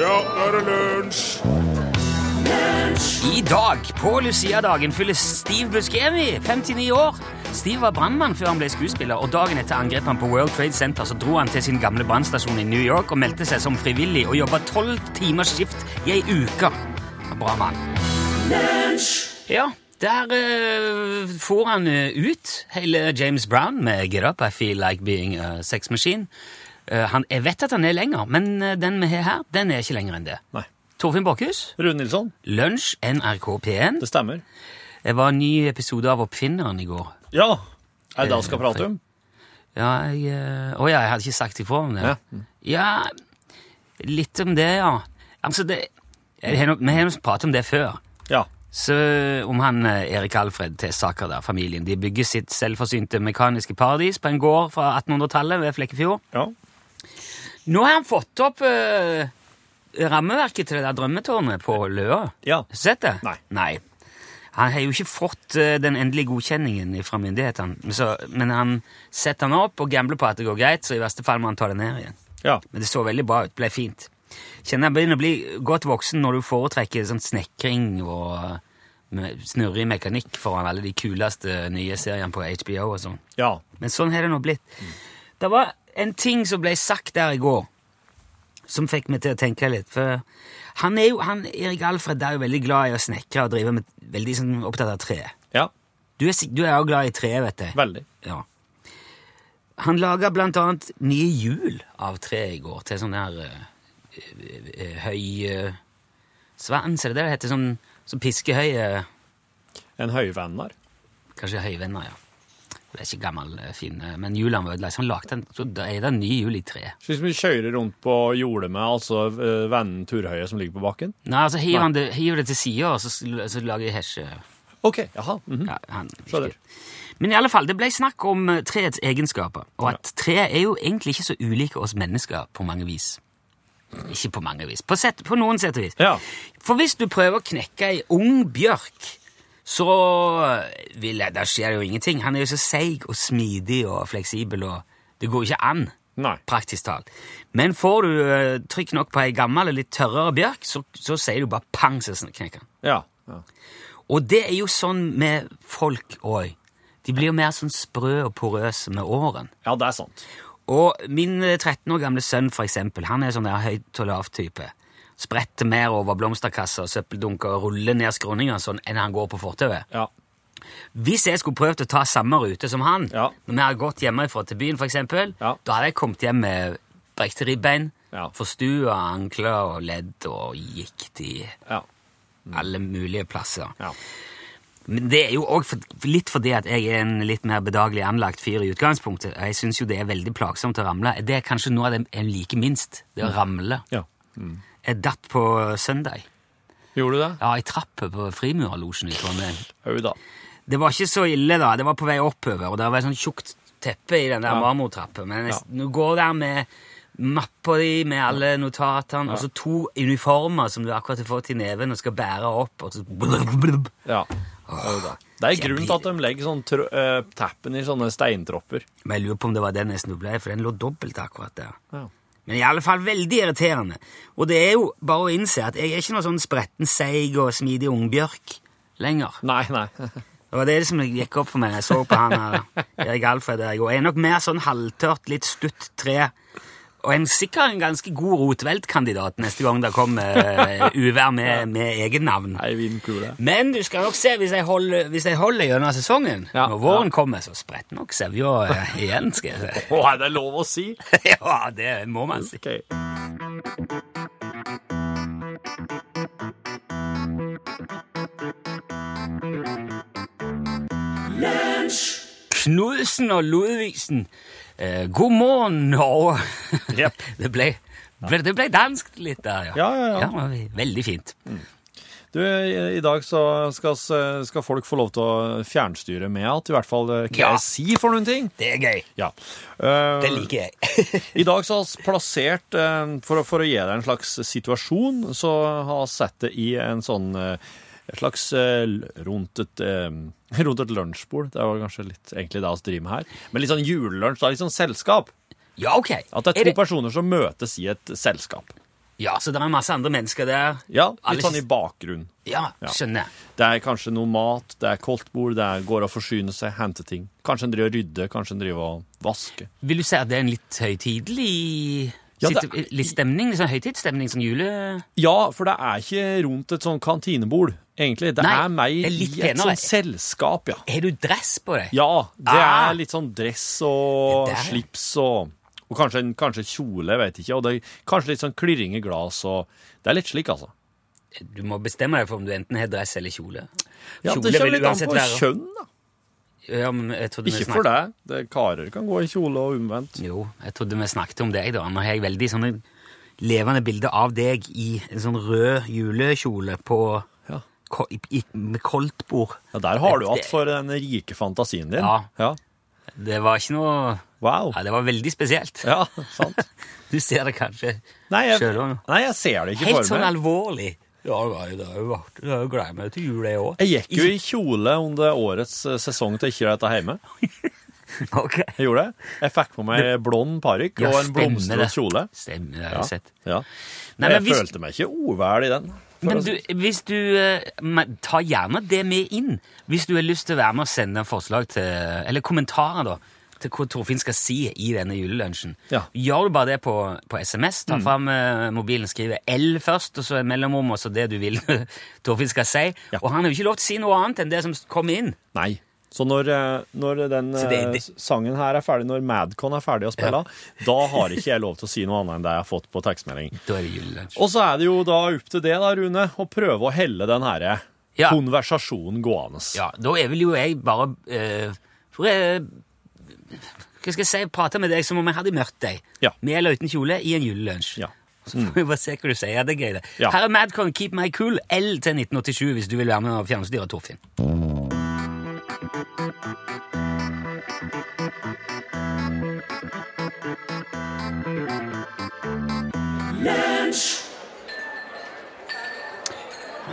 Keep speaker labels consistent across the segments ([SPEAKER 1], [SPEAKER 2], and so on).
[SPEAKER 1] Ja, nå er det lunsj!
[SPEAKER 2] I dag, på Lucia-dagen, fyller Steve Buscemi 59 år. Steve var brannmann før han ble skuespiller, og dagen etter angrep han på World Trade Center så dro han til sin gamle brannstasjon i New York og meldte seg som frivillig og jobba tolv timers skift i ei uke. En Bra mann. Ja, der eh, for han eh, ut hele James Brown med Get Up, I Feel Like Being a Sex Machine. Eh, han, jeg vet at han er lenger, men eh, den vi har her, den er ikke lenger enn det.
[SPEAKER 3] Nei.
[SPEAKER 2] Torfinn Borkhus?
[SPEAKER 3] Rune Nilsson,
[SPEAKER 2] Lunsj, NRK P1.
[SPEAKER 3] det stemmer.
[SPEAKER 2] Det var en ny episode av Oppfinneren i går.
[SPEAKER 3] Ja, er det da vi skal prate om?
[SPEAKER 2] Ja, jeg, eh, å ja, jeg hadde ikke sagt ifra om det.
[SPEAKER 3] Ja.
[SPEAKER 2] Ja, litt om det, ja. Altså, det, jeg, har nok- vi har nok pratet om det før.
[SPEAKER 3] Ja.
[SPEAKER 2] Så om han eh, Erik Alfred til Saker der, familien. De bygger sitt selvforsynte mekaniske paradis på en gård fra 1800-tallet ved Flekkefjord.
[SPEAKER 3] ja.
[SPEAKER 2] Nå har han fått opp eh, rammeverket til det der drømmetårnet på Løa.
[SPEAKER 3] Ja.
[SPEAKER 2] Har du sett det?
[SPEAKER 3] Nei.
[SPEAKER 2] Han har jo ikke fått eh, den endelige godkjenningen fra myndighetene, men så- men han setter han opp og gambler på at det går greit, så i verste fall må han ta det ned igjen.
[SPEAKER 3] ja.
[SPEAKER 2] Men det så veldig bra ut, ble fint. Kjenner jeg begynner å bli godt voksen når du foretrekker sånn snekring og eh, me- snurrig mekanikk foran alle de kuleste nye seriene på HBO og sånn.
[SPEAKER 3] ja.
[SPEAKER 2] Men sånn har det nå blitt. Det var en ting som ble sagt der i går, som fikk meg til å tenke litt. For han er jo, han, Erik Alfred er jo veldig glad i å snekre og drive med veldig sånn, opptatt av tre.
[SPEAKER 3] Ja,
[SPEAKER 2] Du er, sik- du er jo glad i tre, vet jeg.
[SPEAKER 3] veldig.
[SPEAKER 2] Ja. Han laga blant annet nye hjul av tre i går, til sånn der eh, eh, eh, høy eh, svans, er det det det heter? Sånn, sånn piskehøye
[SPEAKER 3] En høyvenner.
[SPEAKER 2] Kanskje høyvenner, ja. Det er ikke gammel, eh, fin, eh, men hjulene var ødelagt. så Han lagde en, så da er det en ny hjul i tre.
[SPEAKER 3] Slik som vi kjører rundt på jordet med, altså eh, vennen Turhøye som ligger på bakken.
[SPEAKER 2] Nei, altså hiver han det, hiver det til sida, og så, sl- så lager jeg hesje.
[SPEAKER 3] Ok, jaha. mhm.
[SPEAKER 2] Ja, han,
[SPEAKER 3] Skjønner.
[SPEAKER 2] Men i alle fall, det ble snakk om eh, treets egenskaper, og at tre er jo egentlig ikke så ulike oss mennesker på mange vis. Ikke på mange vis, på, sett, på noen sett og vis.
[SPEAKER 3] Ja.
[SPEAKER 2] For hvis du prøver å knekke ei ung bjørk, så eh, vil jeg, der skjer det jo ingenting. Han er jo så seig og smidig og fleksibel, og det går jo ikke an,
[SPEAKER 3] Nei.
[SPEAKER 2] praktisk talt. Men får du eh, trykk nok på ei gammel og litt tørrere bjørk, så, så sier du bare pang, så sn- knekker han.
[SPEAKER 3] Ja. ja.
[SPEAKER 2] Og det er jo sånn med folk òg. De blir jo mer sånn sprø og porøse med åren.
[SPEAKER 3] Ja, det er sant.
[SPEAKER 2] Og min eh, 13 år gamle sønn, for eksempel, han er sånn der høyt og lavt-type. Spretter mer over blomsterkasser og søppeldunker og ruller ned skråninger sånn enn han går på fortauet.
[SPEAKER 3] Ja.
[SPEAKER 2] Hvis jeg skulle prøvd å ta samme rute som han,
[SPEAKER 3] Ja.
[SPEAKER 2] når vi hadde gått hjemmefra til byen, for eksempel,
[SPEAKER 3] Ja.
[SPEAKER 2] da hadde jeg kommet hjem med brekte ribbein,
[SPEAKER 3] Ja.
[SPEAKER 2] forstua ankler og ledd og gikt i
[SPEAKER 3] Ja.
[SPEAKER 2] alle mulige plasser.
[SPEAKER 3] Ja.
[SPEAKER 2] Men det er jo òg for, litt fordi at jeg er en litt mer bedagelig anlagt fyr i utgangspunktet. og Jeg syns jo det er veldig plagsomt å ramle. Det er kanskje noe av det jeg liker minst. Det å ramle.
[SPEAKER 3] ja.
[SPEAKER 2] Jeg datt på søndag.
[SPEAKER 3] Gjorde du det?
[SPEAKER 2] Ja, i trappa på Frimurerlosjen i Trondheim.
[SPEAKER 3] Au da.
[SPEAKER 2] Det var ikke så ille, da. Det var på vei oppover, og det var et sånt tjukt teppe i den der
[SPEAKER 3] Ja.
[SPEAKER 2] marmortrappa. Men jeg,
[SPEAKER 3] Ja.
[SPEAKER 2] nå går der med mappa di med alle notatene, og så to uniformer som du akkurat har fått i neven og skal bære opp, og så
[SPEAKER 3] Ja. Au da. Det er
[SPEAKER 2] jeg
[SPEAKER 3] grunnen til
[SPEAKER 2] blir-
[SPEAKER 3] at de legger sånn tro- eh, tappen i sånne steintropper.
[SPEAKER 2] Men jeg lurer på om det var den jeg snubla i, for den lå dobbelt akkurat der.
[SPEAKER 3] Ja.
[SPEAKER 2] Men i alle fall veldig irriterende. Og det er jo bare å innse at jeg er ikke noe sånn spretten, seig og smidig ungbjørk lenger.
[SPEAKER 3] Nei, nei.
[SPEAKER 2] Det var det som gikk opp for meg da jeg så på han her, Erik Alfred der i går. Jeg er nok mer sånn halvtørt, litt stutt tre. Og en sikkert en ganske god rotveltkandidat neste gang det kommer eh, uvær med, med eget navn.
[SPEAKER 3] Ei vindkule.
[SPEAKER 2] Men du skal nok se, hvis jeg holder, hvis jeg holder gjennom sesongen,
[SPEAKER 3] Ja,
[SPEAKER 2] når våren
[SPEAKER 3] ja.
[SPEAKER 2] kommer, så spretter nok sevja eh, igjen, skal jeg si.
[SPEAKER 3] Å, er det lov å si?
[SPEAKER 2] ja, det må man si.
[SPEAKER 3] Ok.
[SPEAKER 2] Knudsen og Ludvigsen. Eh, god morgen, Norge.
[SPEAKER 3] Jep.
[SPEAKER 2] det, ble, ble, det ble dansk litt der, ja.
[SPEAKER 3] Ja, ja, ja.
[SPEAKER 2] ve- veldig fint.
[SPEAKER 3] Du, i i dag så skal, s- skal folk få lov til å fjernstyre med at i hvert fall eh, hva
[SPEAKER 2] Ja.
[SPEAKER 3] jeg sier for noen ting.
[SPEAKER 2] Det er gøy.
[SPEAKER 3] Ja. Eh,
[SPEAKER 2] Det liker jeg.
[SPEAKER 3] I dag så har vi plassert, eh, for, å- for å gi deg en slags situasjon, så har vi sett det i en sånn eh, et slags eh, l- rundt et, eh, rundt et lunsjbord. Det var kanskje litt egentlig det vi driver med her. Men litt sånn julelunsj, da. Litt sånn selskap.
[SPEAKER 2] Ja, ok.
[SPEAKER 3] At det er to
[SPEAKER 2] det,
[SPEAKER 3] personer som møtes i et selskap.
[SPEAKER 2] ja, så det er masse andre mennesker der.
[SPEAKER 3] Ja,
[SPEAKER 2] Alle
[SPEAKER 3] litt sånn
[SPEAKER 2] sys-
[SPEAKER 3] i bakgrunnen.
[SPEAKER 2] Ja,
[SPEAKER 3] Ja.
[SPEAKER 2] skjønner. jeg.
[SPEAKER 3] Det er kanskje noe mat, det er koldtbord, det er går og forsyner seg, henter ting. Kanskje en driver og rydder, kanskje en driver og vasker.
[SPEAKER 2] Vil du si at det er en litt høytidelig
[SPEAKER 3] Ja, det
[SPEAKER 2] situ- Litt stemning? Litt sånn høytidsstemning? Sånn jule...
[SPEAKER 3] Ja, for det er ikke rundt et sånn kantinebord, egentlig. Det
[SPEAKER 2] Nei,
[SPEAKER 3] er meg
[SPEAKER 2] det er litt
[SPEAKER 3] i et
[SPEAKER 2] penere.
[SPEAKER 3] sånt selskap, ja.
[SPEAKER 2] Har du dress på deg?
[SPEAKER 3] Ja, det
[SPEAKER 2] Ah.
[SPEAKER 3] er litt sånn dress og
[SPEAKER 2] Det der, ja.
[SPEAKER 3] slips og, og kanskje, en, kanskje kjole, jeg vet ikke. Og det er kanskje litt sånn klirring i glass og Det er litt slik, altså.
[SPEAKER 2] Du må bestemme deg for om du enten har dress eller kjole.
[SPEAKER 3] Ja,
[SPEAKER 2] Kjole
[SPEAKER 3] det
[SPEAKER 2] vil
[SPEAKER 3] kommer litt an
[SPEAKER 2] uansett
[SPEAKER 3] på
[SPEAKER 2] være-
[SPEAKER 3] kjønn, da.
[SPEAKER 2] Ja, men jeg trodde vi
[SPEAKER 3] Ikke
[SPEAKER 2] snakket-
[SPEAKER 3] for deg. Det er karer kan gå i kjole og omvendt.
[SPEAKER 2] Jo, jeg trodde vi snakket om deg, da. Nå har jeg veldig sånne levende bilder av deg i en sånn rød julekjole på
[SPEAKER 3] Ja.
[SPEAKER 2] ko- i, i, med koldtbord.
[SPEAKER 3] Ja, Der har du
[SPEAKER 2] Det-
[SPEAKER 3] hatt for den rike fantasien din.
[SPEAKER 2] Ja.
[SPEAKER 3] ja.
[SPEAKER 2] Det var ikke noe
[SPEAKER 3] Wow.
[SPEAKER 2] Ja, det var veldig spesielt.
[SPEAKER 3] Ja, sant.
[SPEAKER 2] Du ser det kanskje
[SPEAKER 3] Nei, jeg,
[SPEAKER 2] sjøl òg.
[SPEAKER 3] nei, jeg ser det ikke
[SPEAKER 2] Helt
[SPEAKER 3] for
[SPEAKER 2] sånn
[SPEAKER 3] meg.
[SPEAKER 2] alvorlig. Ja, nei, det er jo artig. Jeg gleder meg til jul, jeg òg.
[SPEAKER 3] Jeg gikk jo i kjole under årets eh, sesong til Ikke dette hjemme.
[SPEAKER 2] Ok.
[SPEAKER 3] Jeg gjorde det. Jeg fikk på meg blond parykk
[SPEAKER 2] Ja,
[SPEAKER 3] og en
[SPEAKER 2] stemmer
[SPEAKER 3] blomstret
[SPEAKER 2] det.
[SPEAKER 3] kjole.
[SPEAKER 2] Stemmer, det har jeg
[SPEAKER 3] Ja.
[SPEAKER 2] sett.
[SPEAKER 3] Ja.
[SPEAKER 2] Nei,
[SPEAKER 3] jeg
[SPEAKER 2] men hvis-
[SPEAKER 3] følte meg ikke ovæl i den. for altså-
[SPEAKER 2] Men
[SPEAKER 3] å si-
[SPEAKER 2] du, hvis du eh, men Ta gjerne det med inn. Hvis du har lyst til å være med og sende forslag til Eller kommentarer, da. Til hva Torfinn skal si i denne julelunsjen.
[SPEAKER 3] Ja. Mm.
[SPEAKER 2] Gjør du bare det på, på SMS. Ta fram eh, mobilen, skrive L først, og så et mellomrom, og så det du vil Torfinn skal si.
[SPEAKER 3] Ja.
[SPEAKER 2] Og han har jo ikke lov til å si noe annet enn det som kom inn.
[SPEAKER 3] Nei. Så når, eh, når den
[SPEAKER 2] Så det-
[SPEAKER 3] eh,
[SPEAKER 2] det-
[SPEAKER 3] sangen her er ferdig, når Madcon er ferdig å spille, da har ikke jeg lov til å si noe annet enn det jeg har fått på tekstmelding.
[SPEAKER 2] Da er det julelunsj.
[SPEAKER 3] Og så er det jo da opp til det, da, Rune, å prøve å helle den herre
[SPEAKER 2] Ja.
[SPEAKER 3] konversasjonen gående.
[SPEAKER 2] Ja, da er vel jo jeg bare eh, For jeg Hva skal jeg si? Prate med deg som om jeg hadde møtt deg.
[SPEAKER 3] Ja.
[SPEAKER 2] Med eller uten kjole i en julelunsj.
[SPEAKER 3] Ja.
[SPEAKER 2] Så får vi bare se hva du sier. Ja, Det er gøy, det.
[SPEAKER 3] Ja.
[SPEAKER 2] Her er Madcon Keep My Cool L til 1987 hvis du vil være med og fjernstyre Torfinn.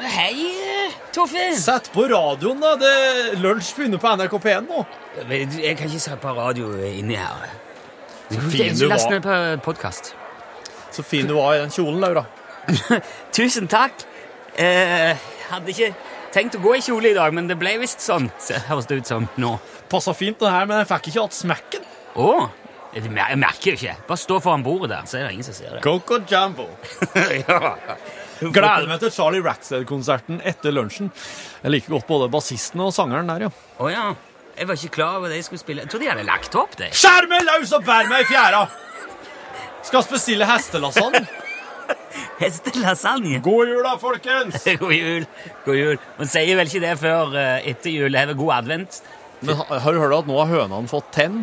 [SPEAKER 2] Hei, Torfinn!
[SPEAKER 3] Sett på radioen, da. Det Lunsj begynner på NRK P1 nå.
[SPEAKER 2] Men Jeg kan ikke se på radio inni her.
[SPEAKER 3] fin du
[SPEAKER 2] Last
[SPEAKER 3] var.
[SPEAKER 2] ned på podkast.
[SPEAKER 3] Så fin du var i den kjolen, Laura.
[SPEAKER 2] Tusen takk. Eh, hadde ikke tenkt å gå i kjole i dag, men det ble visst sånn. Se, Høres det ut som nå.
[SPEAKER 3] Passa fint, den her, men jeg fikk ikke hatt smekken.
[SPEAKER 2] Å! Jeg mer- jeg merker jo ikke. Bare stå foran bordet der, så er det ingen som ser det.
[SPEAKER 3] Coco Jambo.
[SPEAKER 2] ja.
[SPEAKER 3] Gleder meg til Charlie Rackstead-konserten etter lunsjen. Jeg liker godt både bassisten og sangeren der, ja.
[SPEAKER 2] Å ja. Jeg var ikke klar over det jeg skulle spille. Jeg trodde jeg hadde lagt opp det.
[SPEAKER 3] Skjær meg løs og bær meg i fjæra! Skal vi bestille hestelasagne.
[SPEAKER 2] Hestelasagne.
[SPEAKER 3] God jul, da, folkens!
[SPEAKER 2] God jul. God jul. Man sier vel ikke det før eh, etter jul. Have a god advent.
[SPEAKER 3] Men har har du hørt at nå har hønene fått tenn?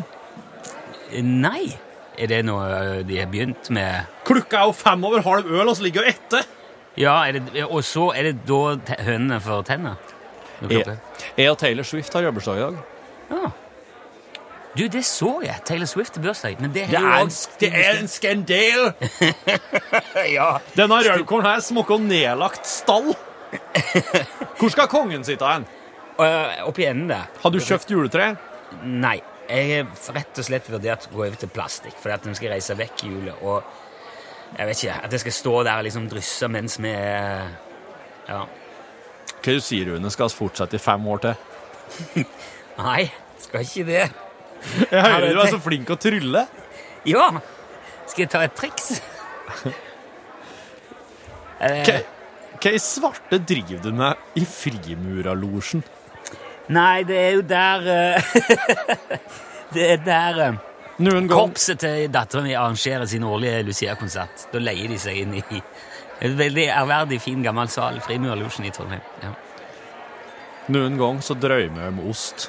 [SPEAKER 2] Eh, Nei. Er det noe eh, de har begynt med?
[SPEAKER 3] Klokka er jo fem over halv øl, og så ligger hun etter.
[SPEAKER 2] Ja, er det, og så er det da te- hønene får tenner? Når klokka-
[SPEAKER 3] Jeg, jeg E, og Taylor Swift har jobbersdag i dag.
[SPEAKER 2] Ja. Du, det så jeg. Taylor Swift er bursdag. Men det har
[SPEAKER 3] Det
[SPEAKER 2] jo
[SPEAKER 3] er en,
[SPEAKER 2] også-
[SPEAKER 3] det er en skandal!
[SPEAKER 2] Ja.
[SPEAKER 3] Denne rødkålen her smaker nedlagt stall. Hvor skal kongen sitte hen?
[SPEAKER 2] Øh, Opp i enden der.
[SPEAKER 3] Har du kjøpt juletre?
[SPEAKER 2] Nei. Jeg har rett og slett vurdert å gå over til plastikk, fordi at den skal reise vekk i jula. Og jeg vet ikke, at jeg skal stå der og liksom drysse mens vi øh, Ja.
[SPEAKER 3] Hva du sier Rune, skal vi fortsette i fem år til?
[SPEAKER 2] Nei, skal ikke det.
[SPEAKER 3] Jeg hører
[SPEAKER 2] det
[SPEAKER 3] du er
[SPEAKER 2] tenk-
[SPEAKER 3] så flink å trylle.
[SPEAKER 2] Ja! Skal jeg ta et triks? Eh,
[SPEAKER 3] Hva hva i svarte driver du med i frimuralosjen?
[SPEAKER 2] Nei, det er jo der eh, Det er der eh,
[SPEAKER 3] Noen gang
[SPEAKER 2] Korpset til datteren min arrangerer sin årlige Lucia-konsert. Da leier de seg inn i en veldig ærverdig, fin, gammel sal. Frimurlosjen i Trondheim. Ja.
[SPEAKER 3] Noen gang så drømmer jeg om ost.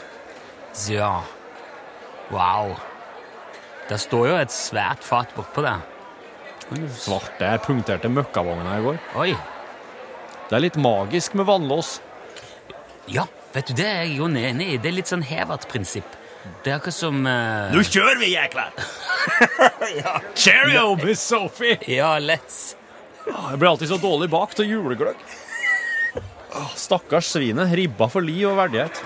[SPEAKER 2] Så ja. Wow. Der står jo et svært fat bortpå der.
[SPEAKER 3] Svarte jeg punkterte møkkavogna i går.
[SPEAKER 2] Oi.
[SPEAKER 3] Det er litt magisk med vannlås.
[SPEAKER 2] Ja, vet du, det er jeg jo enig i. Det er litt sånn Hevert-prinsipp. Det er akkurat som eh,
[SPEAKER 3] Nå kjører vi, jækla! Cheerio, Miss Sophie!
[SPEAKER 2] Ja, let's
[SPEAKER 3] Jeg blir alltid så dårlig bak til julegløgg. Ah, Stakkars svinet. Ribba for liv og verdighet.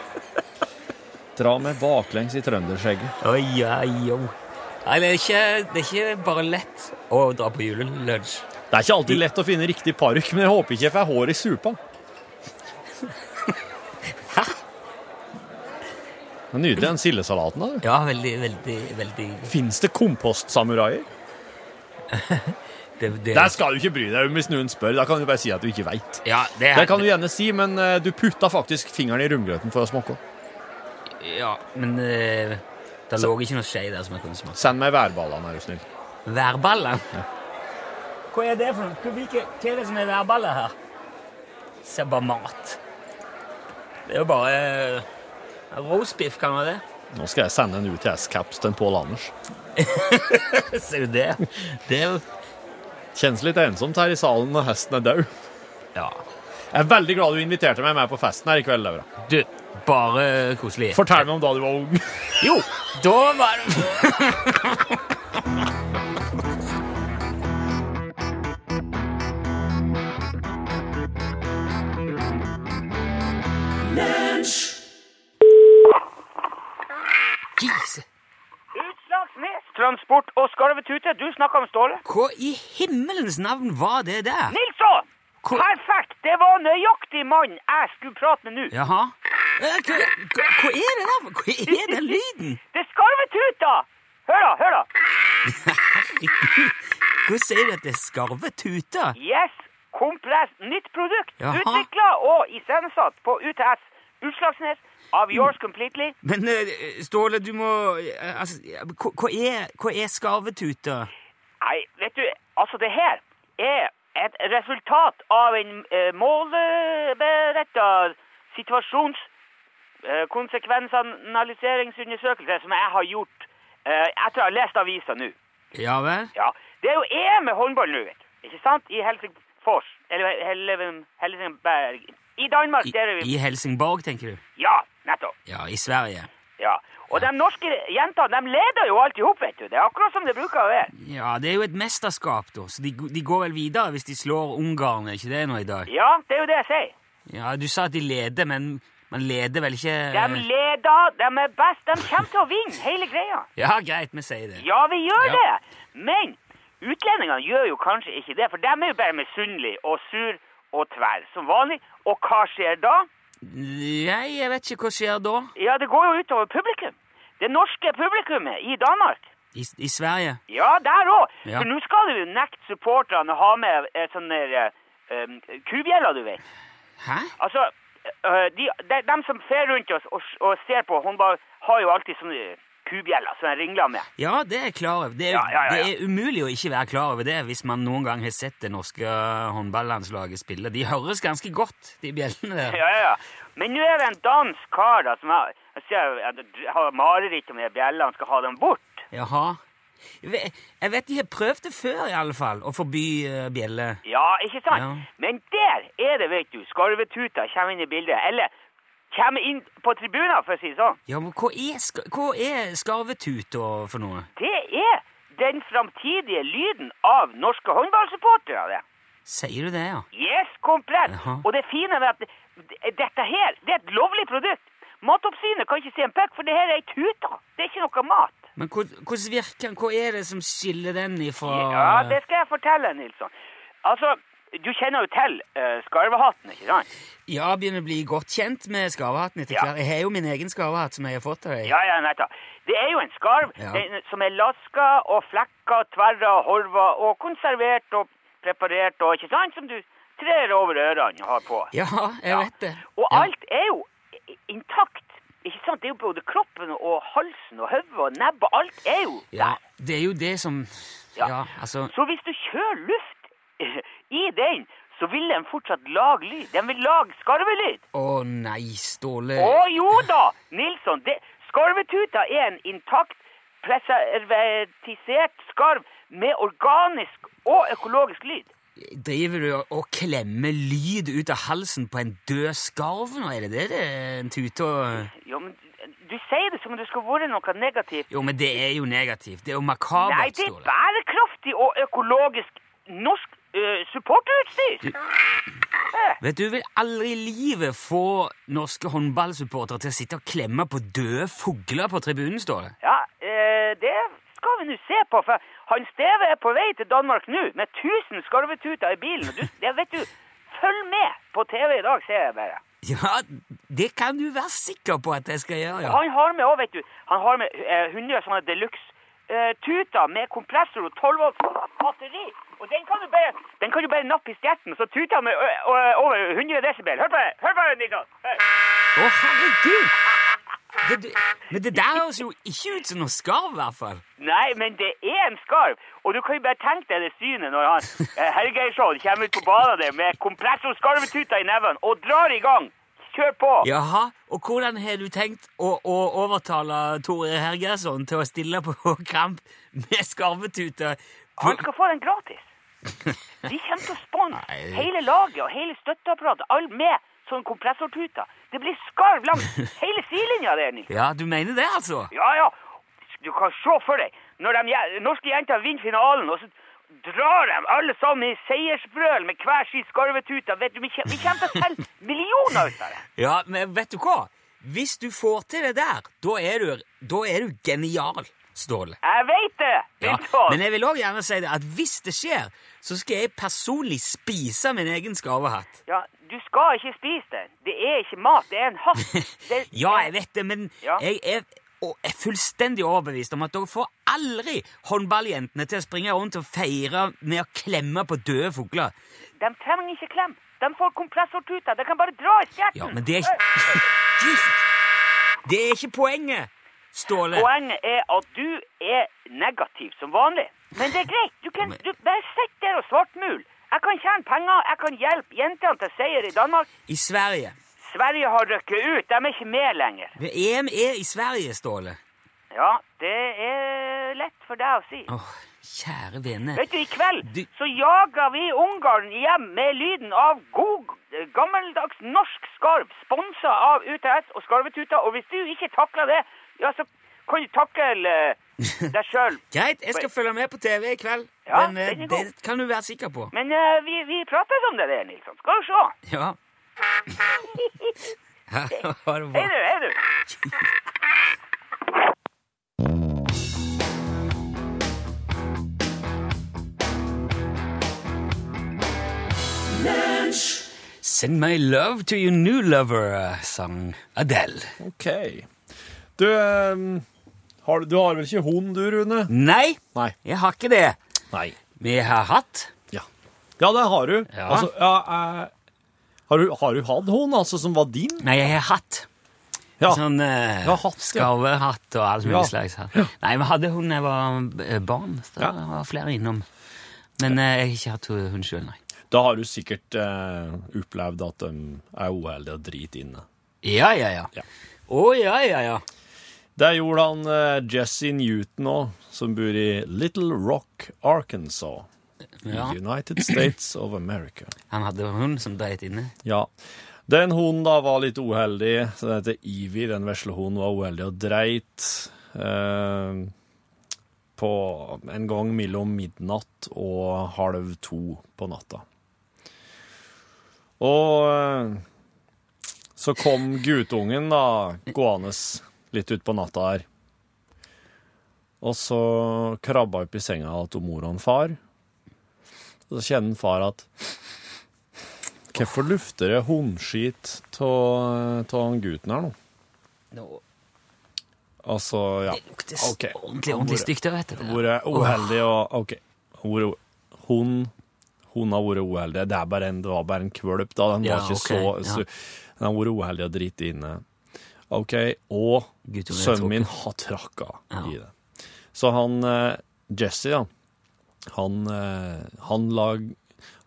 [SPEAKER 3] Dra meg baklengs i trønderskjegget.
[SPEAKER 2] Oi, oi, oi. Nei, det er, ikke, det er ikke bare lett å dra på julelunsj.
[SPEAKER 3] Det er ikke alltid lett å finne riktig parykk, men jeg håper ikke jeg får hår i supa.
[SPEAKER 2] Hæ?
[SPEAKER 3] Det er Nydelig, den sildesalaten der.
[SPEAKER 2] Ja, veldig, veldig, veldig
[SPEAKER 3] Fins det kompostsamuraier?
[SPEAKER 2] det, det,
[SPEAKER 3] Der skal du ikke bry deg om hvis noen spør. Da kan du bare si at du ikke veit.
[SPEAKER 2] Ja, det er
[SPEAKER 3] Det kan du gjerne si, men eh, du putta faktisk fingeren i rundgrøten for å smokke.
[SPEAKER 2] Ja, men eh, det lå ikke noe skje der som jeg kunne smake.
[SPEAKER 3] Send meg værballene, er du snill.
[SPEAKER 2] Værballe? Hva er det for noe? Hvilke- Hva er det som er værballe her? Se bare mat. Det er jo bare eh, Roastbiff kan være det.
[SPEAKER 3] Nå skal jeg sende en UTS-caps til en Pål Anders.
[SPEAKER 2] Se jo det. Det er jo
[SPEAKER 3] Kjennes litt ensomt her i salen når hesten er død.
[SPEAKER 2] Ja.
[SPEAKER 3] Jeg er veldig glad du inviterte meg med på festen her i kveld, Laura.
[SPEAKER 2] Du, bare koselig.
[SPEAKER 3] Fortell meg om da du var ung.
[SPEAKER 2] Jo, da var det Gise,
[SPEAKER 4] Utslagsnes Transport og Skarvetute, du snakker om Ståle.
[SPEAKER 2] hva i himmelens navn var det der?
[SPEAKER 4] Nilsson!
[SPEAKER 2] Hvor-
[SPEAKER 4] Perfekt! Det var nøyaktig mann jeg skulle prate med nå.
[SPEAKER 2] Jaha. Eh, Hva, hva, hva er det der? for- Hva er den lyden?
[SPEAKER 4] Det er Skarvetuta! Hør da, hør da.
[SPEAKER 2] Hva sier du at det er skarvetuter?
[SPEAKER 4] Yes, Kompress, nytt produkt.
[SPEAKER 2] Jaha.
[SPEAKER 4] Utvikla og iscenesatt på UTS. Utslagsnes av Yours Completely.
[SPEAKER 2] Men eh, Ståle, du må eh, altså, ja, hva, hva er, hva er skarvetuter?
[SPEAKER 4] Nei, vet du, altså det her er et resultat av en eh, målberetta situasjons... eh, konsekvensanalyseringsundersøkelse som jeg har gjort eh, etter å ha lest avisa nå.
[SPEAKER 2] Ja vel?
[SPEAKER 4] Ja, det er jo EM i håndball nå, vet du. Ikke sant? I Helsingfors. Eller Helle- Helsingberg. I Danmark,
[SPEAKER 2] I,
[SPEAKER 4] der er vi.
[SPEAKER 2] I Helsingborg, tenker du?
[SPEAKER 4] Ja, nettopp.
[SPEAKER 2] Ja, i Sverige.
[SPEAKER 4] Ja. Og de norske jentene, de leder jo alt i hop, vet du. Det er akkurat som det bruker å være.
[SPEAKER 2] Ja, det er jo et mesterskap, da, så de, de går vel videre hvis de slår Ungarn, er ikke det nå i dag?
[SPEAKER 4] Ja, det er jo det jeg sier.
[SPEAKER 2] Ja, du sa at de leder, men man leder vel ikke eh,
[SPEAKER 4] De leder, de er best. De kommer til å vinne hele greia.
[SPEAKER 2] Ja, greit, vi sier det.
[SPEAKER 4] Ja, vi gjør
[SPEAKER 2] Ja.
[SPEAKER 4] det. Men utlendingene gjør jo kanskje ikke det, for de er jo bare misunnelige og sur og tverr som vanlig. Og hva skjer da?
[SPEAKER 2] Nei, jeg vet ikke hva skjer da.
[SPEAKER 4] Ja, det går jo utover publikum. Det norske publikummet i Danmark.
[SPEAKER 2] I, i Sverige?
[SPEAKER 4] Ja, der òg.
[SPEAKER 2] Ja.
[SPEAKER 4] For nå skal du jo nekte supporterne å ha med eh, sånne der, eh, um, kubjeller, du vet.
[SPEAKER 2] Hæ?
[SPEAKER 4] Altså, eh, de, de, dem som fer rundt oss og, s- og ser på håndball, har jo alltid sånne kubjeller som de ringler med.
[SPEAKER 2] Ja, det er jeg klar over. Det er,
[SPEAKER 4] Ja, ja, ja, ja.
[SPEAKER 2] det er umulig å ikke være klar over det hvis man noen gang har sett det norske håndballandslaget spille. De høres ganske godt, de bjellene der.
[SPEAKER 4] Ja, ja, ja. Men nå er det en dansk kar da, som har, jeg ser, jeg har mareritt om de bjellene, skal ha dem bort.
[SPEAKER 2] Jaha. Jeg vet- Jeg vet de har prøvd det før, i alle fall, å forby eh, bjelle.
[SPEAKER 4] Ja, ikke sant?
[SPEAKER 2] Ja.
[SPEAKER 4] Men der er det, vet du, skarvetuta kommer inn i bildet. Eller kommer inn på tribunen, for å si det sånn.
[SPEAKER 2] Ja, men hva er, sk- hva er skarvetuta for noe?
[SPEAKER 4] Det er den framtidige lyden av norske håndballsupportere. det.
[SPEAKER 2] Sier du det, ja?
[SPEAKER 4] Yes, komplett!
[SPEAKER 2] Jaha.
[SPEAKER 4] Og det fine med at det- det- dette her, det er et lovlig produkt. Matoppsynet kan ikke se en pekk, for det her er ei tute. Det er ikke noe mat.
[SPEAKER 2] Men hvor- hvordan virker den? Hva er det som skiller den ifra
[SPEAKER 4] Ja, det skal jeg fortelle, Nilsson. Altså, du kjenner jo til eh, skarvehatten, ikke sant?
[SPEAKER 2] Ja, begynner å bli godt kjent med skarvehatten etter
[SPEAKER 4] Ja.
[SPEAKER 2] hvert. Jeg har jo min egen skarvehatt som jeg har fått av deg.
[SPEAKER 4] Ja, ja, nettopp. Det er jo en skarv
[SPEAKER 2] Ja.
[SPEAKER 4] eh, som er laska og flekka, tverra, horva og konservert og preparert og ikke sant, som du trer over ørene og har på.
[SPEAKER 2] Ja, jeg
[SPEAKER 4] Ja.
[SPEAKER 2] vet det.
[SPEAKER 4] Og
[SPEAKER 2] Ja.
[SPEAKER 4] alt er jo i- intakt. Ikke sant? Det er jo både kroppen og halsen og hodet og nebbet. Alt er jo
[SPEAKER 2] Ja,
[SPEAKER 4] der.
[SPEAKER 2] det er jo det som Ja,
[SPEAKER 4] Ja.
[SPEAKER 2] altså
[SPEAKER 4] Så hvis du kjører luft i den, så vil den fortsatt lage lyd. Den vil lage skarvelyd.
[SPEAKER 2] Å nei, Ståle.
[SPEAKER 4] Å jo da, Nilsson. Det, skarvetuta er en intakt, preservatisert skarv med organisk og økologisk lyd.
[SPEAKER 2] Driver du og- og klemmer lyd ut av halsen på en død skarv nå? Er det det det er en tute og
[SPEAKER 4] Jo, men du sier det som om det skulle vært noe negativt.
[SPEAKER 2] Jo, men det er jo negativt. Det er jo
[SPEAKER 4] Nei,
[SPEAKER 2] makabert,
[SPEAKER 4] det er
[SPEAKER 2] Ståle.
[SPEAKER 4] bærekraftig og økologisk norsk eh, supporterutstyr.
[SPEAKER 2] Vet du, vil aldri i livet få norske håndballsupportere til å sitte og klemme på døde fugler på tribunen, står det.
[SPEAKER 4] Ja, eh, det skal vi nå se på, for han Steve er på vei til Danmark nå med 1000 skarvetuter i bilen. og Du, det vet du, følg med på TV i dag, ser jeg bare.
[SPEAKER 2] Ja, det kan du være sikker på at jeg skal gjøre, ja.
[SPEAKER 4] Han har med òg, vet du, han har med eh, 100 sånne deluxe-tuter med kompressor og 12 volts batteri. Og den kan du bare, den kan du bare nappe i stjerten, så tuter han med ø, ø, over 100 desibel. Hør på det! Hør på det, Niklas! Hør.
[SPEAKER 2] Å, herregud! Det, det, men det der høres jo ikke ut som noe skarv, i hvert fall.
[SPEAKER 4] Nei, men det er en skarv, og du kan jo bare tenke deg det synet når han eh, Helgeirsson kommer ut på banen der med kompressor-skarvetuta i neven og drar i gang. Kjør på!
[SPEAKER 2] Jaha, og hvordan har du tenkt å, å overtale Tore Hergersson til å stille på kamp med skarvetute?
[SPEAKER 4] Han skal få den gratis. De kommer til å sponse
[SPEAKER 2] Nei.
[SPEAKER 4] hele laget og hele støtteapparatet, alle med sånn kompressortuta. Det blir skarv langs hele sidelinja der, Nils.
[SPEAKER 2] Ja, du mener det, altså?
[SPEAKER 4] Ja, ja. Du kan se for deg når de je- norske jenter vinner finalen, og så drar de alle sammen i seiersbrøl med hver sin skarvetute. Vet du, vi kjem- vi kommer til å selge millioner ut av det.
[SPEAKER 2] Ja, men vet du hva? Hvis du får til det der, da er du, da er du genial, Ståle.
[SPEAKER 4] Jeg vet det!
[SPEAKER 2] Ja,
[SPEAKER 4] Nilsson.
[SPEAKER 2] men jeg vil òg gjerne si det at hvis det skjer, så skal jeg personlig spise min egen skarvehatt.
[SPEAKER 4] ja, du skal ikke spise den. Det er ikke mat, det er en hatt. Det-
[SPEAKER 2] Ja, jeg vet det, men
[SPEAKER 4] Ja.
[SPEAKER 2] jeg er, og er fullstendig overbevist om at dere får aldri håndballjentene til å springe rundt og feire med å klemme på døde fugler.
[SPEAKER 4] De trenger ikke klem. De får kompressortuta. De kan bare dra i Eh, stjerten.
[SPEAKER 2] Ja, men det er ikke Det er ikke poenget, Ståle.
[SPEAKER 4] Poenget er at du er negativ som vanlig. Men det er greit. Du kan du bare sitt der og svartmul. Jeg kan tjene penger, jeg kan hjelpe jentene til seier i Danmark.
[SPEAKER 2] I Sverige.
[SPEAKER 4] Sverige har røkket ut. De er ikke med lenger.
[SPEAKER 2] Men EM er i Sverige, Ståle.
[SPEAKER 4] Ja, det er lett for deg å si.
[SPEAKER 2] Åh, kjære vene.
[SPEAKER 4] Vet du, i kveld
[SPEAKER 2] Du-
[SPEAKER 4] så jager vi Ungarn hjem med lyden av god, eh, gammeldags norsk skarv, sponsa av UTS og Skarvetuta. Og hvis du ikke takler det, ja, så kan du takle eh, deg sjøl.
[SPEAKER 2] Greit, jeg skal følge med på TV i kveld.
[SPEAKER 4] Ja,
[SPEAKER 2] men eh,
[SPEAKER 4] den er god.
[SPEAKER 2] det kan du være sikker på.
[SPEAKER 4] Men eh, vi, vi prates om det der, Nilsson. Skal du se.
[SPEAKER 2] Ja. Ha det
[SPEAKER 4] Hei
[SPEAKER 2] bra.
[SPEAKER 4] du, hei du.
[SPEAKER 2] Send my love to your new lover, eh, sang Adele.
[SPEAKER 3] Ok. Du, eh, har, du har vel ikke hund, du, Rune?
[SPEAKER 2] Nei,
[SPEAKER 3] Nei.
[SPEAKER 2] jeg har ikke det.
[SPEAKER 3] Nei.
[SPEAKER 2] Vi har hatt.
[SPEAKER 3] Ja, ja det har du.
[SPEAKER 2] Ja.
[SPEAKER 3] Altså, ja, eh, har du. Har du hatt hund, altså, som var din? Altså,
[SPEAKER 2] Nei, jeg har hatt.
[SPEAKER 3] Ja.
[SPEAKER 2] Sånn eh,
[SPEAKER 3] Ja, hatt, ja.
[SPEAKER 2] skarvehatt og all mulig
[SPEAKER 3] Ja.
[SPEAKER 2] slags hatt. Nei, vi hadde hun da jeg var eh, barn. Så
[SPEAKER 3] Ja.
[SPEAKER 2] det var flere innom. Men eh, jeg har ikke hatt hun sjøl, nei.
[SPEAKER 3] Da har du sikkert eh, opplevd at de er uheldige og drit inne.
[SPEAKER 2] Ja, ja, ja.
[SPEAKER 3] Ja.
[SPEAKER 2] Å, ja, ja, ja.
[SPEAKER 3] Det gjorde han eh, Jesse Newton òg, som bor i Little Rock, Arkansas.
[SPEAKER 2] Ja.
[SPEAKER 3] United States of America.
[SPEAKER 2] Han hadde hun som dreit inne.
[SPEAKER 3] Ja. Den hunden da var litt uheldig, så den heter Ivy. Den veslehunden var uheldig og dreit. Eh, på en gang mellom midnatt og halv to på natta. Og eh, så kom guttungen da gående litt utpå natta her. Og så krabba opp i senga til mor og en far. Og så kjenner far at Hvorfor lufter det hundskit av han gutten her nå?
[SPEAKER 2] Nå,
[SPEAKER 3] Altså, ja.
[SPEAKER 2] det lukter s-
[SPEAKER 3] Ok.
[SPEAKER 2] ordentlig ordentlig stygt av dette.
[SPEAKER 3] Hvor er uheldig og OK. Hvor er- Hun Hun har vært uheldig. Det, er bare en, det var bare en kvølp, da. Den
[SPEAKER 2] Ja,
[SPEAKER 3] var ikke
[SPEAKER 2] ok,
[SPEAKER 3] så,
[SPEAKER 2] ja.
[SPEAKER 3] så Den har vært uheldig og driti inne. OK. Og
[SPEAKER 2] Guttungen tråkker.
[SPEAKER 3] sønnen min har tråkka
[SPEAKER 2] Ja.
[SPEAKER 3] i det. Så han eh, Jesse, ja. Han, eh, han la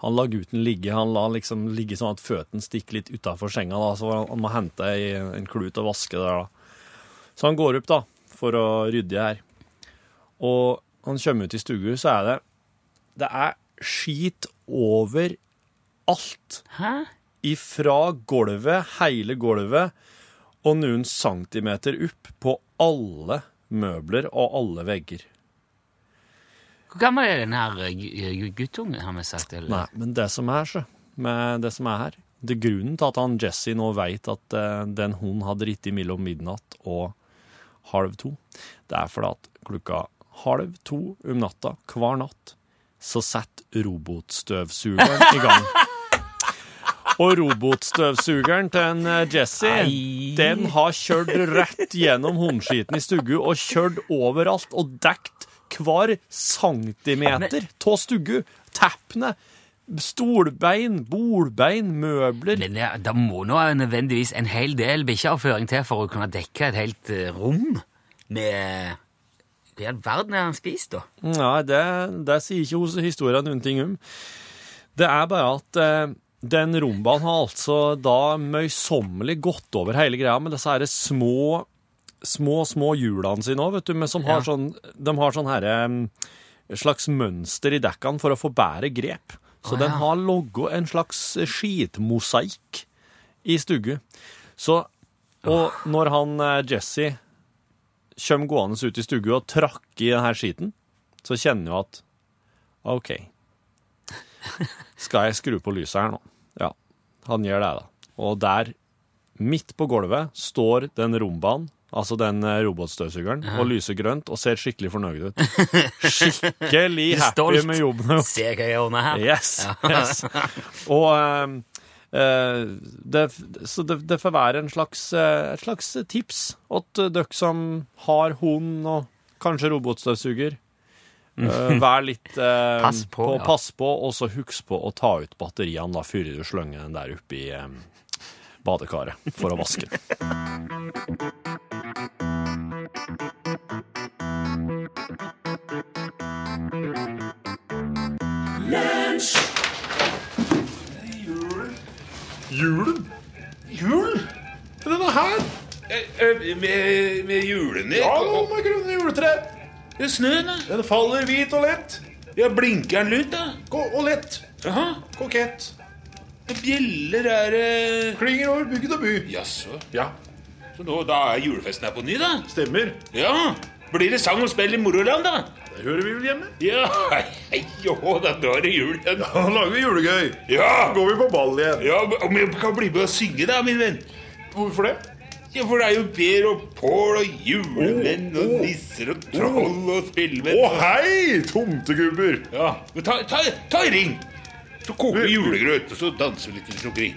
[SPEAKER 3] han la gutten ligge. Han la han liksom ligge sånn at føttene stikker litt utafor senga. da, Så han, han må hente ei, en klut og vaske der, da. Så han går opp, da, for å rydde her. Og han kommer ut i stugu, så er det Det er skit over alt.
[SPEAKER 2] Hæ?
[SPEAKER 3] Ifra gulvet, hele gulvet, og noen centimeter opp på alle møbler og alle vegger.
[SPEAKER 2] Hvor gammel er den her eh, gu- gu- guttungen, har vi sagt? Eller?
[SPEAKER 3] Nei, men det som er, så med det som er her. Det er grunnen til at han Jesse nå vet at eh, den hunden hadde ritt i mellom midnatt og halv to, det er fordi at klokka halv to om natta hver natt så setter robotstøvsugeren i gang. Og robotstøvsugeren til en eh, Jesse, den har kjørt rett gjennom hundskiten i stugu og kjørt overalt og dekt hver centimeter av stugu. Teppene, stolbein, bolbein, møbler.
[SPEAKER 2] Men det, da må nå nødvendigvis en hel del bikkjeavføring til for å kunne dekke et helt eh, rom med Hva i all verden har han spist, da?
[SPEAKER 3] Nei, det, det sier ikke hos- historien noen ting om. Det er bare at eh, den rumbaen har altså da møysommelig gått over hele greia med disse her små, små, små hjulene sine òg, vet du, men som har
[SPEAKER 2] Ja.
[SPEAKER 3] sånn De har sånn herre mm, slags mønster i dekkene for å få bedre grep. Så
[SPEAKER 2] Å,
[SPEAKER 3] den
[SPEAKER 2] ja.
[SPEAKER 3] har logget en slags skitmosaikk i stugu. Så Og når han eh, Jesse kommer gående ut i stugu og trakk i denne skiten, så kjenner jeg at OK. Skal jeg skru på lyset her nå? Ja, han gjør det, da. Og der, midt på gulvet, står den rumbaen, altså den eh, robotstøvsugeren, og lyser grønt og ser skikkelig fornøyd ut. Skikkelig happy
[SPEAKER 2] Stolt.
[SPEAKER 3] med jobben.
[SPEAKER 2] Se hva jeg ordner her.
[SPEAKER 3] Yes, yes. Og ehm, eh, det, så det, det får være en slags, eh, et slags tips at eh, dere som har hund og kanskje robotstøvsuger, eh, vær litt eh,
[SPEAKER 2] Pass på, ja.
[SPEAKER 3] pass på, og så husk på å ta ut batteriene da, før du slenger den der oppi um, badekaret for å vaske. den.
[SPEAKER 1] Julen? Jul? Denne her?
[SPEAKER 5] Med, med julenytt?
[SPEAKER 1] Ja, nå må jeg grunne juletre.
[SPEAKER 5] Ja, snøen, da.
[SPEAKER 1] Den faller hvit og lett.
[SPEAKER 5] Ja, blinker den ut, da?
[SPEAKER 1] Ko og lett.
[SPEAKER 5] Jaha.
[SPEAKER 1] Kokett.
[SPEAKER 5] Bjeller er eh,
[SPEAKER 1] Klinger over bygd og by.
[SPEAKER 5] Jaså.
[SPEAKER 1] Ja,
[SPEAKER 5] Så nå, da er julefesten her på ny, da?
[SPEAKER 1] stemmer.
[SPEAKER 5] Ja. Blir det sang og spill i moroland, da?
[SPEAKER 1] Det hører vi vel hjemme.
[SPEAKER 5] Ja, hei, jo, da nå er det jul igjen.
[SPEAKER 1] Da lager vi julegøy.
[SPEAKER 5] Ja!
[SPEAKER 1] Da går vi på ball igjen.
[SPEAKER 5] ja om jeg kan bli med og synge, da, min venn?
[SPEAKER 1] Hvorfor det?
[SPEAKER 5] Ja, For det er jo Per og Pål og julemenn og nisser og troll og
[SPEAKER 1] Å,
[SPEAKER 5] spillemenn.
[SPEAKER 1] hei, tomtegubber.
[SPEAKER 5] Ja, men ta, ta, ta en ring! Så koker vi julegrøt, og så danser vi litt til snokkeri.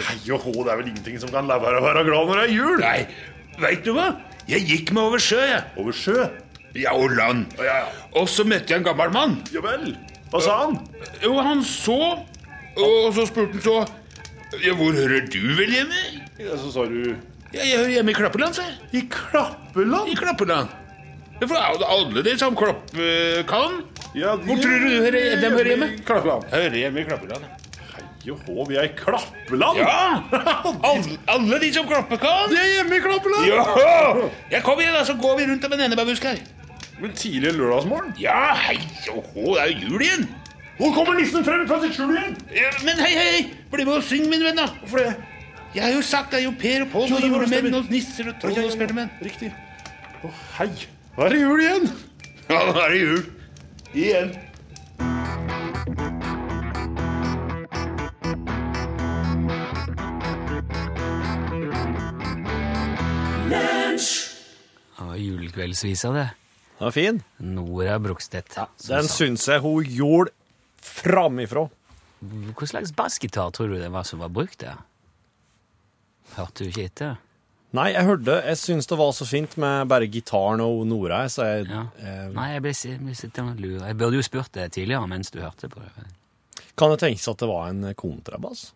[SPEAKER 1] Hei og hå, det er vel ingenting som kan la være å være glad når det er jul.
[SPEAKER 5] Nei, veit du hva? Jeg gikk meg over sjø, jeg.
[SPEAKER 1] Over sjø.
[SPEAKER 5] Ja, og land.
[SPEAKER 1] Ja, ja.
[SPEAKER 5] Og så møtte jeg en gammel mann.
[SPEAKER 1] Ja vel. Hva sa han?
[SPEAKER 5] Jo, han så, og så spurte han så Ja, hvor hører du vel hjemme?
[SPEAKER 1] Ja, så sa du
[SPEAKER 5] Ja, jeg hører hjemme i Klappeland, sa jeg.
[SPEAKER 1] I Klappeland?
[SPEAKER 5] I Klappeland. Ja, For det er jo alle de som klappe kan.
[SPEAKER 1] Ja, de-
[SPEAKER 5] Hvor tror du du hører- dem hører hjemme?
[SPEAKER 1] I Klappeland.
[SPEAKER 5] Jeg hører hjemme i Klappeland.
[SPEAKER 1] Joho, vi er i Klappeland?
[SPEAKER 5] Ja!
[SPEAKER 1] De
[SPEAKER 5] Alle, alle de som klappe kan.
[SPEAKER 1] er hjemme i Klappeland!
[SPEAKER 5] Ja! Jeg kom igjen, da, så går vi rundt om en enebærbusk her.
[SPEAKER 1] Men tidlig en lørdagsmorgen
[SPEAKER 5] Ja, hei og hå, det er jo jul igjen.
[SPEAKER 1] Nå kommer nissen frem fra sitt skjul igjen!
[SPEAKER 5] Ja, Men hei, hei, bli med og syng, min venn, da.
[SPEAKER 1] Hvorfor det?
[SPEAKER 5] Jeg har jo sagt det er jo Per og Pål og
[SPEAKER 1] Jo, det var det,
[SPEAKER 5] julemenn
[SPEAKER 1] stemmer.
[SPEAKER 5] og nisser og troll og spellemenn.
[SPEAKER 1] Riktig. Å, hei. Da er det jul igjen.
[SPEAKER 5] Ja, nå er det jul. Igjen.
[SPEAKER 2] Ja, Julekveldsvisa, det.
[SPEAKER 3] Den er fin.
[SPEAKER 2] Nora Brogstedt. som
[SPEAKER 3] Den
[SPEAKER 2] sa-
[SPEAKER 3] syns jeg hun gjorde framifrå.
[SPEAKER 2] Hva slags bassgitar tror du det var som var brukt der? Hørte du ikke etter?
[SPEAKER 3] Nei, jeg hørte Jeg syns det var så fint med bare gitaren og Nora, så jeg
[SPEAKER 2] Ja.
[SPEAKER 3] eh,
[SPEAKER 2] Nei, jeg ble, si- jeg ble sittende og lure. Jeg burde jo spurt det tidligere mens du hørte på det.
[SPEAKER 3] Kan det tenkes at det var en kontrabass?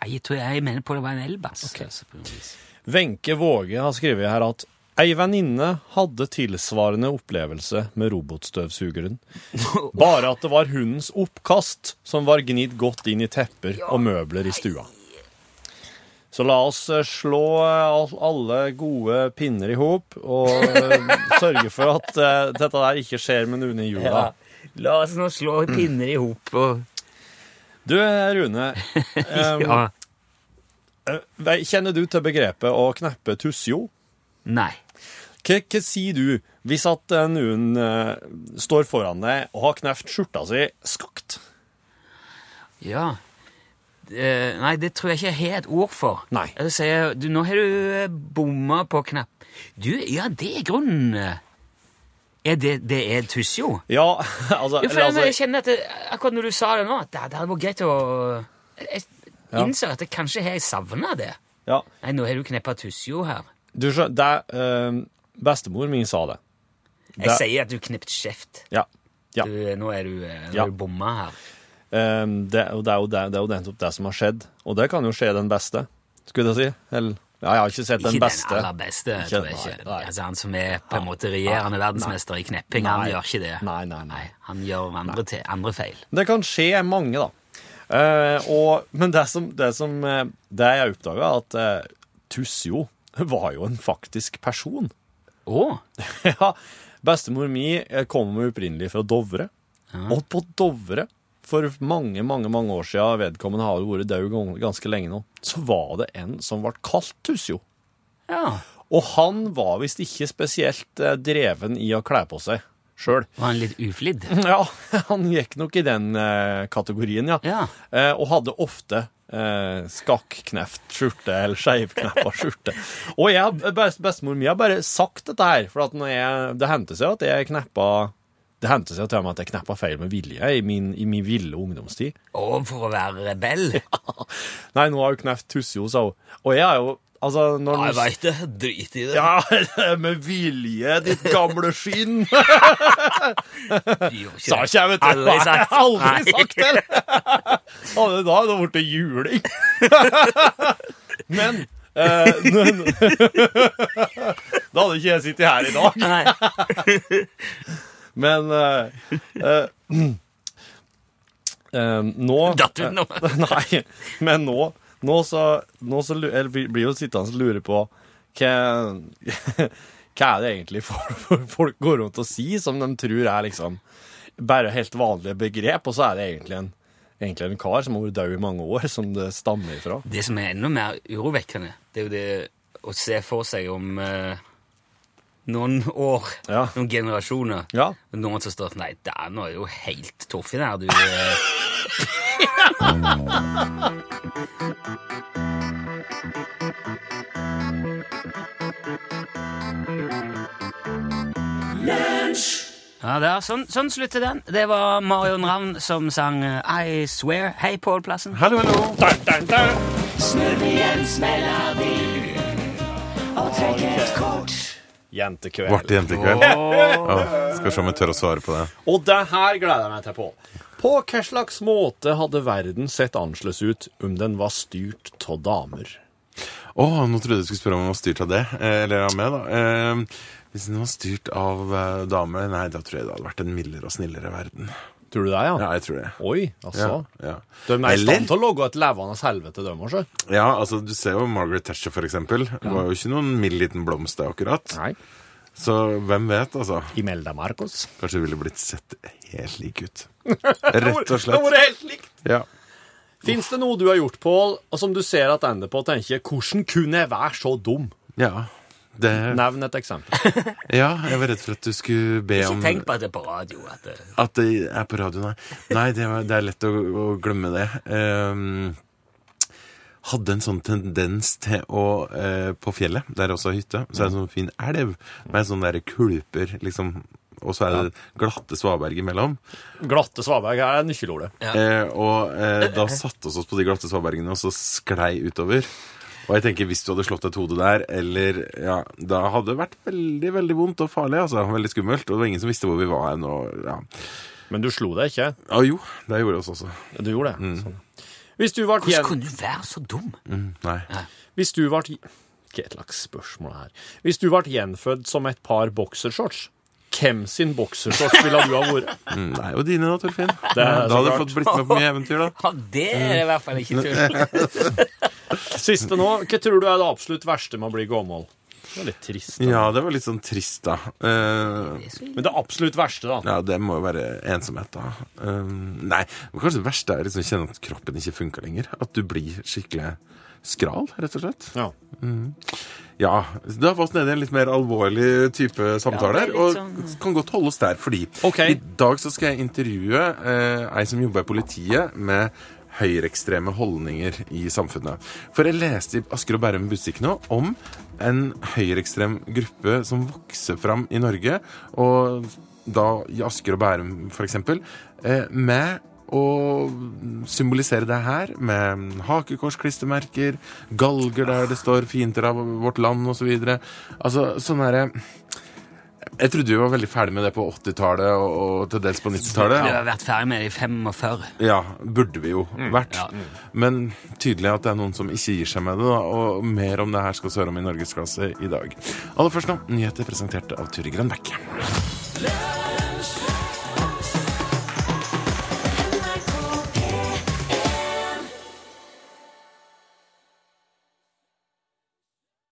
[SPEAKER 2] Nei, jeg tror jeg mener på det var en elbass. Altså, på noe vis.
[SPEAKER 3] Wenche Våge har skrevet her at Ei venninne hadde tilsvarende opplevelse med robotstøvsugeren. Bare at det var hundens oppkast som var gnidd godt inn i tepper og møbler i stua. Så la oss eh, slå eh, al- alle gode pinner i hop og eh, sørge for at eh, dette der ikke skjer med noen i jula.
[SPEAKER 2] La oss nå slå pinner i hop og
[SPEAKER 3] Du, Rune. em,
[SPEAKER 2] Ja.
[SPEAKER 3] eh, vei- Kjenner du til begrepet å kneppe tussjo?
[SPEAKER 2] Nei.
[SPEAKER 3] Hva, hva sier du hvis at eh, noen eh, står foran deg og har kneft skjorta si skakt?
[SPEAKER 2] Ja. eh, Nei, det tror jeg ikke jeg har et ord for.
[SPEAKER 3] Nei.
[SPEAKER 2] Jeg sier, du, nå har du eh, bomma på knapp... Du, ja, det er grunnen. Er det, det er tuss, jo.
[SPEAKER 3] Ja, altså,
[SPEAKER 2] Jo, for
[SPEAKER 3] eller,
[SPEAKER 2] jeg
[SPEAKER 3] altså
[SPEAKER 2] kjenner at det, akkurat når du sa det nå, at det, det hadde vært greit å Jeg
[SPEAKER 3] Ja.
[SPEAKER 2] innser at jeg kanskje har savna det.
[SPEAKER 3] ja,
[SPEAKER 2] Nei, nå har du kneppa tussjo her.
[SPEAKER 3] Du skjønner, det er eh, Bestemor min sa det.
[SPEAKER 2] Jeg
[SPEAKER 3] Det-
[SPEAKER 2] sier at du knept kjeft.
[SPEAKER 3] Ja. ja.
[SPEAKER 2] Du, nå er du, eh, nå
[SPEAKER 3] Ja.
[SPEAKER 2] er du bomma her.
[SPEAKER 3] Eh, det, og det er jo det, det, er jo nettopp det som har skjedd. Og det kan jo skje den beste, skulle jeg si. Eller ja, jeg har ikke sett den
[SPEAKER 2] ikke
[SPEAKER 3] beste.
[SPEAKER 2] den aller beste,
[SPEAKER 3] Ikke-
[SPEAKER 2] tror jeg ikke.
[SPEAKER 3] nei, nei.
[SPEAKER 2] Altså, han som er på en måte regjerende verdensmester i knepping, han
[SPEAKER 3] Ah, Nei.
[SPEAKER 2] gjør ikke det.
[SPEAKER 3] Nei, nei, nei.
[SPEAKER 2] han gjør andre, te, andre feil.
[SPEAKER 3] Det kan skje mange, da. Eh, og, men det som, det som eh, Det jeg oppdaga, at eh, Tussjo var jo en faktisk person.
[SPEAKER 2] Å!
[SPEAKER 3] ja, bestemor mi eh, kommer opprinnelig fra Dovre. Og på Dovre, for mange, mange mange år siden, vedkommende har jo vært død gans- ganske lenge nå, så var det en som ble kalt Tussjo.
[SPEAKER 2] Ja.
[SPEAKER 3] Og han var visst ikke spesielt eh, dreven i å kle på seg sjøl.
[SPEAKER 2] Var han litt uflidd?
[SPEAKER 3] Ja, han gikk nok i den eh, kategorien, ja.
[SPEAKER 2] Ja.
[SPEAKER 3] Eh, og hadde ofte eh, skakkneft skjorte, eller skeivkneppa skjorte. Og jeg, best, bestemor mi har bare sagt dette her, for at når jeg, det hendte seg at jeg kneppa det hendte seg til og med at jeg kneppa feil med vilje i min, i min ville ungdomstid.
[SPEAKER 2] Og for å være rebell?
[SPEAKER 3] Nei, nå har hun kneft Tussjo, sa hun. Og jeg er jo Altså, når den-
[SPEAKER 2] veit det. Drit i det.
[SPEAKER 3] Ja, det er med vilje, ditt gamle skinn!
[SPEAKER 2] Du gjorde ikke
[SPEAKER 3] Sa
[SPEAKER 2] det.
[SPEAKER 3] ikke jeg, vet du.
[SPEAKER 2] Aldri sagt.
[SPEAKER 3] Nei, aldri
[SPEAKER 2] Nei.
[SPEAKER 3] sagt det. Hadde da hadde det blitt juling. Men eh, men- Da hadde ikke jeg sittet her i dag.
[SPEAKER 2] Nei.
[SPEAKER 3] Men eh, eh, eh, nå
[SPEAKER 2] Datt ut nå.
[SPEAKER 3] Nei, men nå, nå så, nå så lu- eller, blir blir jo sittende og lure på hva, hva er det egentlig folk, folk går rundt og sier som de tror er liksom bare helt vanlige begrep, og så er det egentlig en, egentlig en kar som har vært død i mange år, som det stammer ifra.
[SPEAKER 2] Det som er enda mer urovekkende, det er jo det å se for seg om eh, noen år,
[SPEAKER 3] Ja.
[SPEAKER 2] noen generasjoner
[SPEAKER 3] Ja.
[SPEAKER 2] Noen som står sånn Nei, det er nå er jo helt toffen her, du. eh." Ja, der, sånn, sånn slutter den. Det var Marion Ravn som sang eh, I Swear. Hei, Pål Plassen.
[SPEAKER 1] Hallo, hallo. Dun, dun, dun.
[SPEAKER 6] Vart
[SPEAKER 3] Jentekveld.
[SPEAKER 6] jentekveld. Ja, skal se om jeg tør å svare på det.
[SPEAKER 3] Og det her gleder jeg meg til på. På hva slags måte hadde verden sett annerledes ut om den var styrt av damer?
[SPEAKER 6] Å, nå trodde jeg du skulle spørre om den var styrt av det. eh, Eller av meg, da. Eh, Hvis den var styrt av eh, damer Nei, da tror jeg det hadde vært en mildere og snillere verden.
[SPEAKER 3] Tror du det, ja?
[SPEAKER 6] Ja, jeg tror det.
[SPEAKER 3] Oi, altså.
[SPEAKER 6] Ja,
[SPEAKER 3] De er i
[SPEAKER 6] ja.
[SPEAKER 3] stand
[SPEAKER 6] Eller,
[SPEAKER 3] til å logge et levende helvete, dem også.
[SPEAKER 6] ja, altså, du ser jo Margaret Thatcher, for eksempel. Hun var jo ikke noen mild liten blomst, det, akkurat.
[SPEAKER 3] Nei.
[SPEAKER 6] Så hvem vet, altså.
[SPEAKER 3] Imelda Marcos.
[SPEAKER 6] Kanskje hun ville blitt sett helt lik ut. Rett og
[SPEAKER 3] Det
[SPEAKER 6] slett.
[SPEAKER 3] var helt likt.
[SPEAKER 6] Ja.
[SPEAKER 3] Fins det noe du har gjort, Pål, og som du ser at ender på, tenker jeg, hvordan kunne jeg være så dum?
[SPEAKER 6] ja. Det,
[SPEAKER 3] Nevn et eksempel.
[SPEAKER 6] ja, jeg var redd for at du skulle be
[SPEAKER 2] Ikke
[SPEAKER 6] om
[SPEAKER 2] tenk på at det er på radio. At eh, det,
[SPEAKER 6] At det er på radio, nei. Nei, det, var, det er lett å, å glemme det. Ehm, hadde en sånn tendens til å eh, På fjellet, der jeg også har hytte, så er det en sånn fin elv med sånne der kulper, liksom. Og så er det glatte svaberg imellom.
[SPEAKER 3] Glatte svaberg her er nøkkelordet.
[SPEAKER 6] Eh, og eh, da satte oss oss på de glatte svabergene, og så sklei utover. Og jeg tenker, hvis du hadde slått et hode der, eller Ja, da hadde det vært veldig, veldig vondt og farlig, altså. Veldig skummelt. Og det var ingen som visste hvor vi var hen, og ja.
[SPEAKER 3] Men du slo deg ikke.
[SPEAKER 6] Ja, jo, det gjorde vi også.
[SPEAKER 3] Du gjorde
[SPEAKER 6] Mm.
[SPEAKER 3] det. Sånn. Hvis du ble
[SPEAKER 2] hvordan
[SPEAKER 3] gjen...
[SPEAKER 2] kunne du være så dum?
[SPEAKER 6] Nei.
[SPEAKER 3] Hvis du ble Hva er et slags spørsmål her? Hvis du ble gjenfødt som et par boksershorts, hvem sin boksershorts ville du ha vært?
[SPEAKER 6] Nei, og dine da, Torfinn.
[SPEAKER 3] Det er
[SPEAKER 6] Da
[SPEAKER 3] så
[SPEAKER 6] hadde du
[SPEAKER 3] klart.
[SPEAKER 6] fått blitt med på mye eventyr, da.
[SPEAKER 2] Ja, det er det i hvert fall ikke tull.
[SPEAKER 3] Siste nå. Hva tror du er det absolutt verste med å bli gammel? Det er litt trist. altså. da.
[SPEAKER 6] Ja, det var litt sånn trist, da. Eh,
[SPEAKER 3] Men det absolutt verste, da.
[SPEAKER 6] ja, det må jo være ensomhet, da. Eh, nei, men kanskje det verste er liksom å kjenne at kroppen ikke funker lenger. At du blir skikkelig skral, rett og slett.
[SPEAKER 3] Ja.
[SPEAKER 6] Ja, da var vi nede i en litt mer alvorlig type samtale
[SPEAKER 2] Ja, det er
[SPEAKER 6] her,
[SPEAKER 2] litt
[SPEAKER 6] og
[SPEAKER 2] sånn-
[SPEAKER 6] kan godt holde oss der, fordi
[SPEAKER 3] Ok.
[SPEAKER 6] i dag så skal jeg intervjue eh, ei som jobber i politiet med høyreekstreme holdninger i samfunnet. For jeg leste i Asker og Bærum Butikk nå om en høyreekstrem gruppe som vokser fram i Norge, og da i Asker og Bærum f.eks., med å symbolisere det her med hakekorsklistremerker, galger der det står 'fiender av vårt land' osv. Så videre. altså sånn herre Jeg trodde vi var veldig ferdig med det på 80-tallet og, og til dels på 90-tallet.
[SPEAKER 2] Du har vært ferdig med det i 45.
[SPEAKER 6] Ja, burde vi jo vært.
[SPEAKER 2] ja.
[SPEAKER 6] Men tydelig at det er noen som ikke gir seg med det, da. Og mer om det her skal Søre om i Norgesklasse i dag. Aller først nå, nyheter presentert av Turi Grønbekk.
[SPEAKER 7] Lunsj,